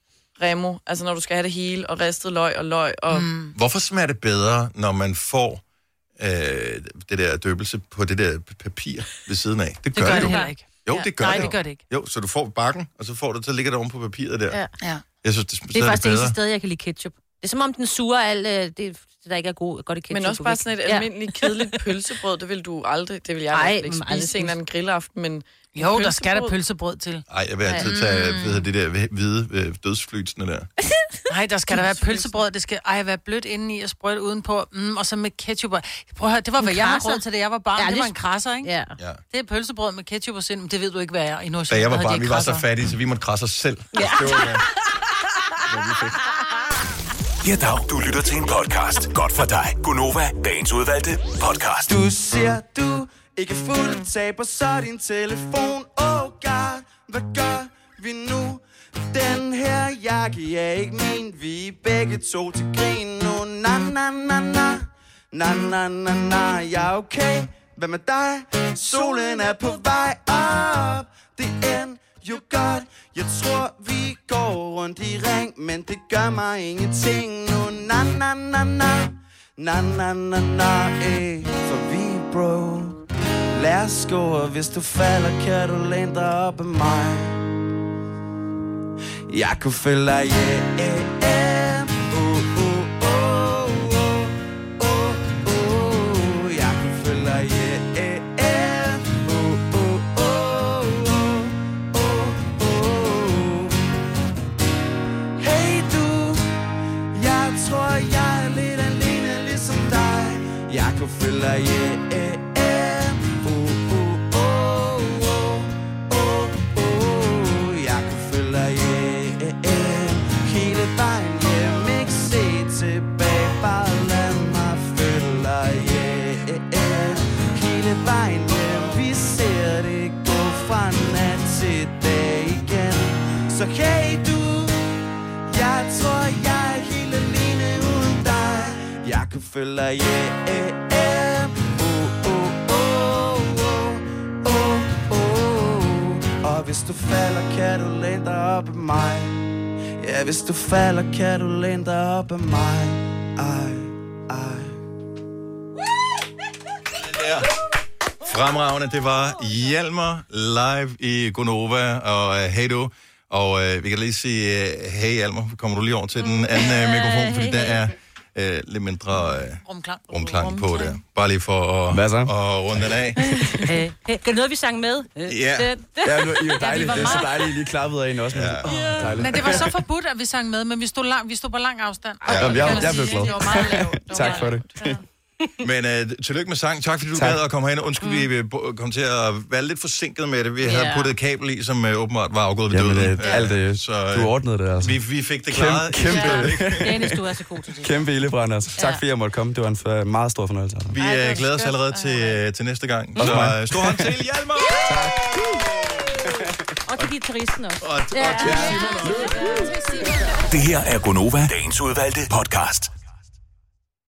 [SPEAKER 3] remo. Altså når du skal have det hele, og ristet løg og løg. Og... Mm.
[SPEAKER 1] Hvorfor smager det bedre, når man får øh, det der døbelse på det der p- papir ved siden af? Det gør,
[SPEAKER 5] det gør
[SPEAKER 1] jo.
[SPEAKER 5] det heller ikke.
[SPEAKER 1] Jo,
[SPEAKER 5] Ja.
[SPEAKER 1] det gør
[SPEAKER 5] Nej,
[SPEAKER 1] det.
[SPEAKER 5] det
[SPEAKER 1] jo.
[SPEAKER 5] gør det ikke.
[SPEAKER 1] Jo, så du får bakken, og så, får du, så ligger det oven på papiret der. Ja.
[SPEAKER 4] Ja.
[SPEAKER 5] Ja.
[SPEAKER 1] Jeg synes, det, så
[SPEAKER 4] Det er
[SPEAKER 1] er
[SPEAKER 4] faktisk det eneste
[SPEAKER 1] bedre.
[SPEAKER 4] sted, jeg kan lide ketchup. Det er som om, den suger alt øh, det, det, der ikke er god, godt i ketchup.
[SPEAKER 3] Men også bare sådan et almindeligt, kedeligt pølsebrød, det vil du aldrig, det vil jeg
[SPEAKER 4] Ej,
[SPEAKER 3] Ej, ikke
[SPEAKER 4] men
[SPEAKER 3] spise
[SPEAKER 4] aldrig
[SPEAKER 3] aldrig. en eller anden grillaften, men
[SPEAKER 5] Jo, der skal der
[SPEAKER 3] pølsebrød?
[SPEAKER 5] pølsebrød til.
[SPEAKER 1] Ej, jeg vil altid tage hvad hedder det der hvide øh, dødsflytsene der.
[SPEAKER 5] Nej, der skal der være pølsebrød. Det skal ej, være blødt indeni og sprødt udenpå. Mm, og så med ketchup. og- Prøv at høre, det var, hvad jeg har
[SPEAKER 4] krasser.
[SPEAKER 5] råd til, da jeg var barn.
[SPEAKER 4] Ja,
[SPEAKER 5] det
[SPEAKER 4] det
[SPEAKER 5] var
[SPEAKER 4] er-
[SPEAKER 5] en krasser, ikke?
[SPEAKER 4] Ja.
[SPEAKER 1] Ja.
[SPEAKER 5] Det er pølsebrød med ketchup og sind. Men Det ved du ikke, hvad er i
[SPEAKER 1] Da
[SPEAKER 5] Nordsjælland.
[SPEAKER 1] jeg var
[SPEAKER 5] der havde de
[SPEAKER 1] barn, vi
[SPEAKER 5] ikke
[SPEAKER 1] var så
[SPEAKER 5] krasser.
[SPEAKER 1] fattige, så vi måtte krasse os selv. Ja. Det var, øh, hvad vi fik.
[SPEAKER 2] Ja, dag. Du lytter til en podcast. Godt for dig. Gunova, dagens udvalgte podcast. Du.
[SPEAKER 10] Ser du ikke fuld taber så din telefon Oh god, hvad gør vi nu? Den her jakke er ikke min Vi er begge to til grin nu Na na na na Na na na na Ja okay, hvad med dig? Solen er på vej Ah. op Det end jo godt Jeg tror vi går rundt i ring Men det gør mig ingenting nu Na na na na Na, na, na, na, eh, for vi er bro. Lad os gå, og hvis du falder, kan du læne dig op af mig. Jeg kunne følge E dig hjem. Uh, uh, uh, uh, uh, uh. Jeg kunne følge E dig hjem. Uh, uh, uh, uh, uh, uh. Hey du, jeg tror, jeg er lidt alene ligesom dig Jeg kunne følge dig hjem Uh, uh, uh, uh, uh, uh. Jeg kunne følge dig hjem Hele vejen hjem Ikke se tilbage Bare lad mig følge dig hjem Hele vejen hjem Vi ser det gå fra nat til dag igen Så hey du jeg tror, jeg er helt alene uden dig Jeg kan følge dig hjem Oh, oh, oh, oh, oh, oh. Og hvis du falder, kan du læne dig op af mig Ja, hvis du falder, kan du læne dig op af mig Ej, ej
[SPEAKER 1] Fremragende, det var Hjalmar live i Gonova og uh, Hey Du. Og uh, vi kan lige sige, uh, hey Hjalmar, kommer du lige over til den anden uh, mikrofon, fordi der er uh, lidt mindre uh,
[SPEAKER 5] Rumklang.
[SPEAKER 1] rumklang på der. Bare lige for at,
[SPEAKER 10] Hvad så?
[SPEAKER 1] at runde den af.
[SPEAKER 4] Øh, hey, det er noget, vi sang med. Øh,
[SPEAKER 1] Ja.
[SPEAKER 4] den-
[SPEAKER 10] Ja, nu, I er jo dejligt.
[SPEAKER 4] var
[SPEAKER 10] det er så dejligt, I lige klappede af en også. Men,
[SPEAKER 1] Ja.
[SPEAKER 10] oh, dejligt.
[SPEAKER 5] Men det var så forbudt, at vi sang med, men vi stod, lang, vi stod på lang afstand. Og
[SPEAKER 10] Ja,
[SPEAKER 5] det
[SPEAKER 10] jeg-
[SPEAKER 5] kan
[SPEAKER 10] jeg blev
[SPEAKER 5] sige, Det
[SPEAKER 10] glad.
[SPEAKER 5] var meget lavt. Det var
[SPEAKER 10] Tak
[SPEAKER 5] meget
[SPEAKER 10] for det.
[SPEAKER 5] lavt. Ja.
[SPEAKER 1] Men uh, tillykke med sang. Tak fordi du
[SPEAKER 10] Tak.
[SPEAKER 1] gad at komme herind. Undskyld, vi øh, bo- kom til at være lidt forsinket med det. Vi havde
[SPEAKER 5] Ja.
[SPEAKER 1] puttet et kabel i, som uh, åbenbart var afgået ved
[SPEAKER 10] Jamen,
[SPEAKER 1] døden.
[SPEAKER 10] øh, alt det,
[SPEAKER 1] så,
[SPEAKER 10] du
[SPEAKER 1] øh,
[SPEAKER 10] ordnede det, altså.
[SPEAKER 1] vi, vi fik det
[SPEAKER 10] Kæmpe,
[SPEAKER 1] klaret.
[SPEAKER 10] kæmpe,
[SPEAKER 4] Dennis, du er så god til det.
[SPEAKER 10] kæmpe ildebrand, altså. Tak fordi jeg måtte komme. Det var en f- meget stor fornøjelse. Altså.
[SPEAKER 1] Vi
[SPEAKER 5] Ej, hvor er
[SPEAKER 1] Ej,
[SPEAKER 5] det
[SPEAKER 1] glæder os
[SPEAKER 5] skønt.
[SPEAKER 1] allerede til, øh, til næste gang.
[SPEAKER 10] Også
[SPEAKER 1] Så
[SPEAKER 10] mig.
[SPEAKER 1] øh, stor hånd til Hjalmar!
[SPEAKER 4] Og til guitaristen også.
[SPEAKER 1] Og, og til Simon også.
[SPEAKER 2] Det her er Gunova, dagens udvalgte podcast.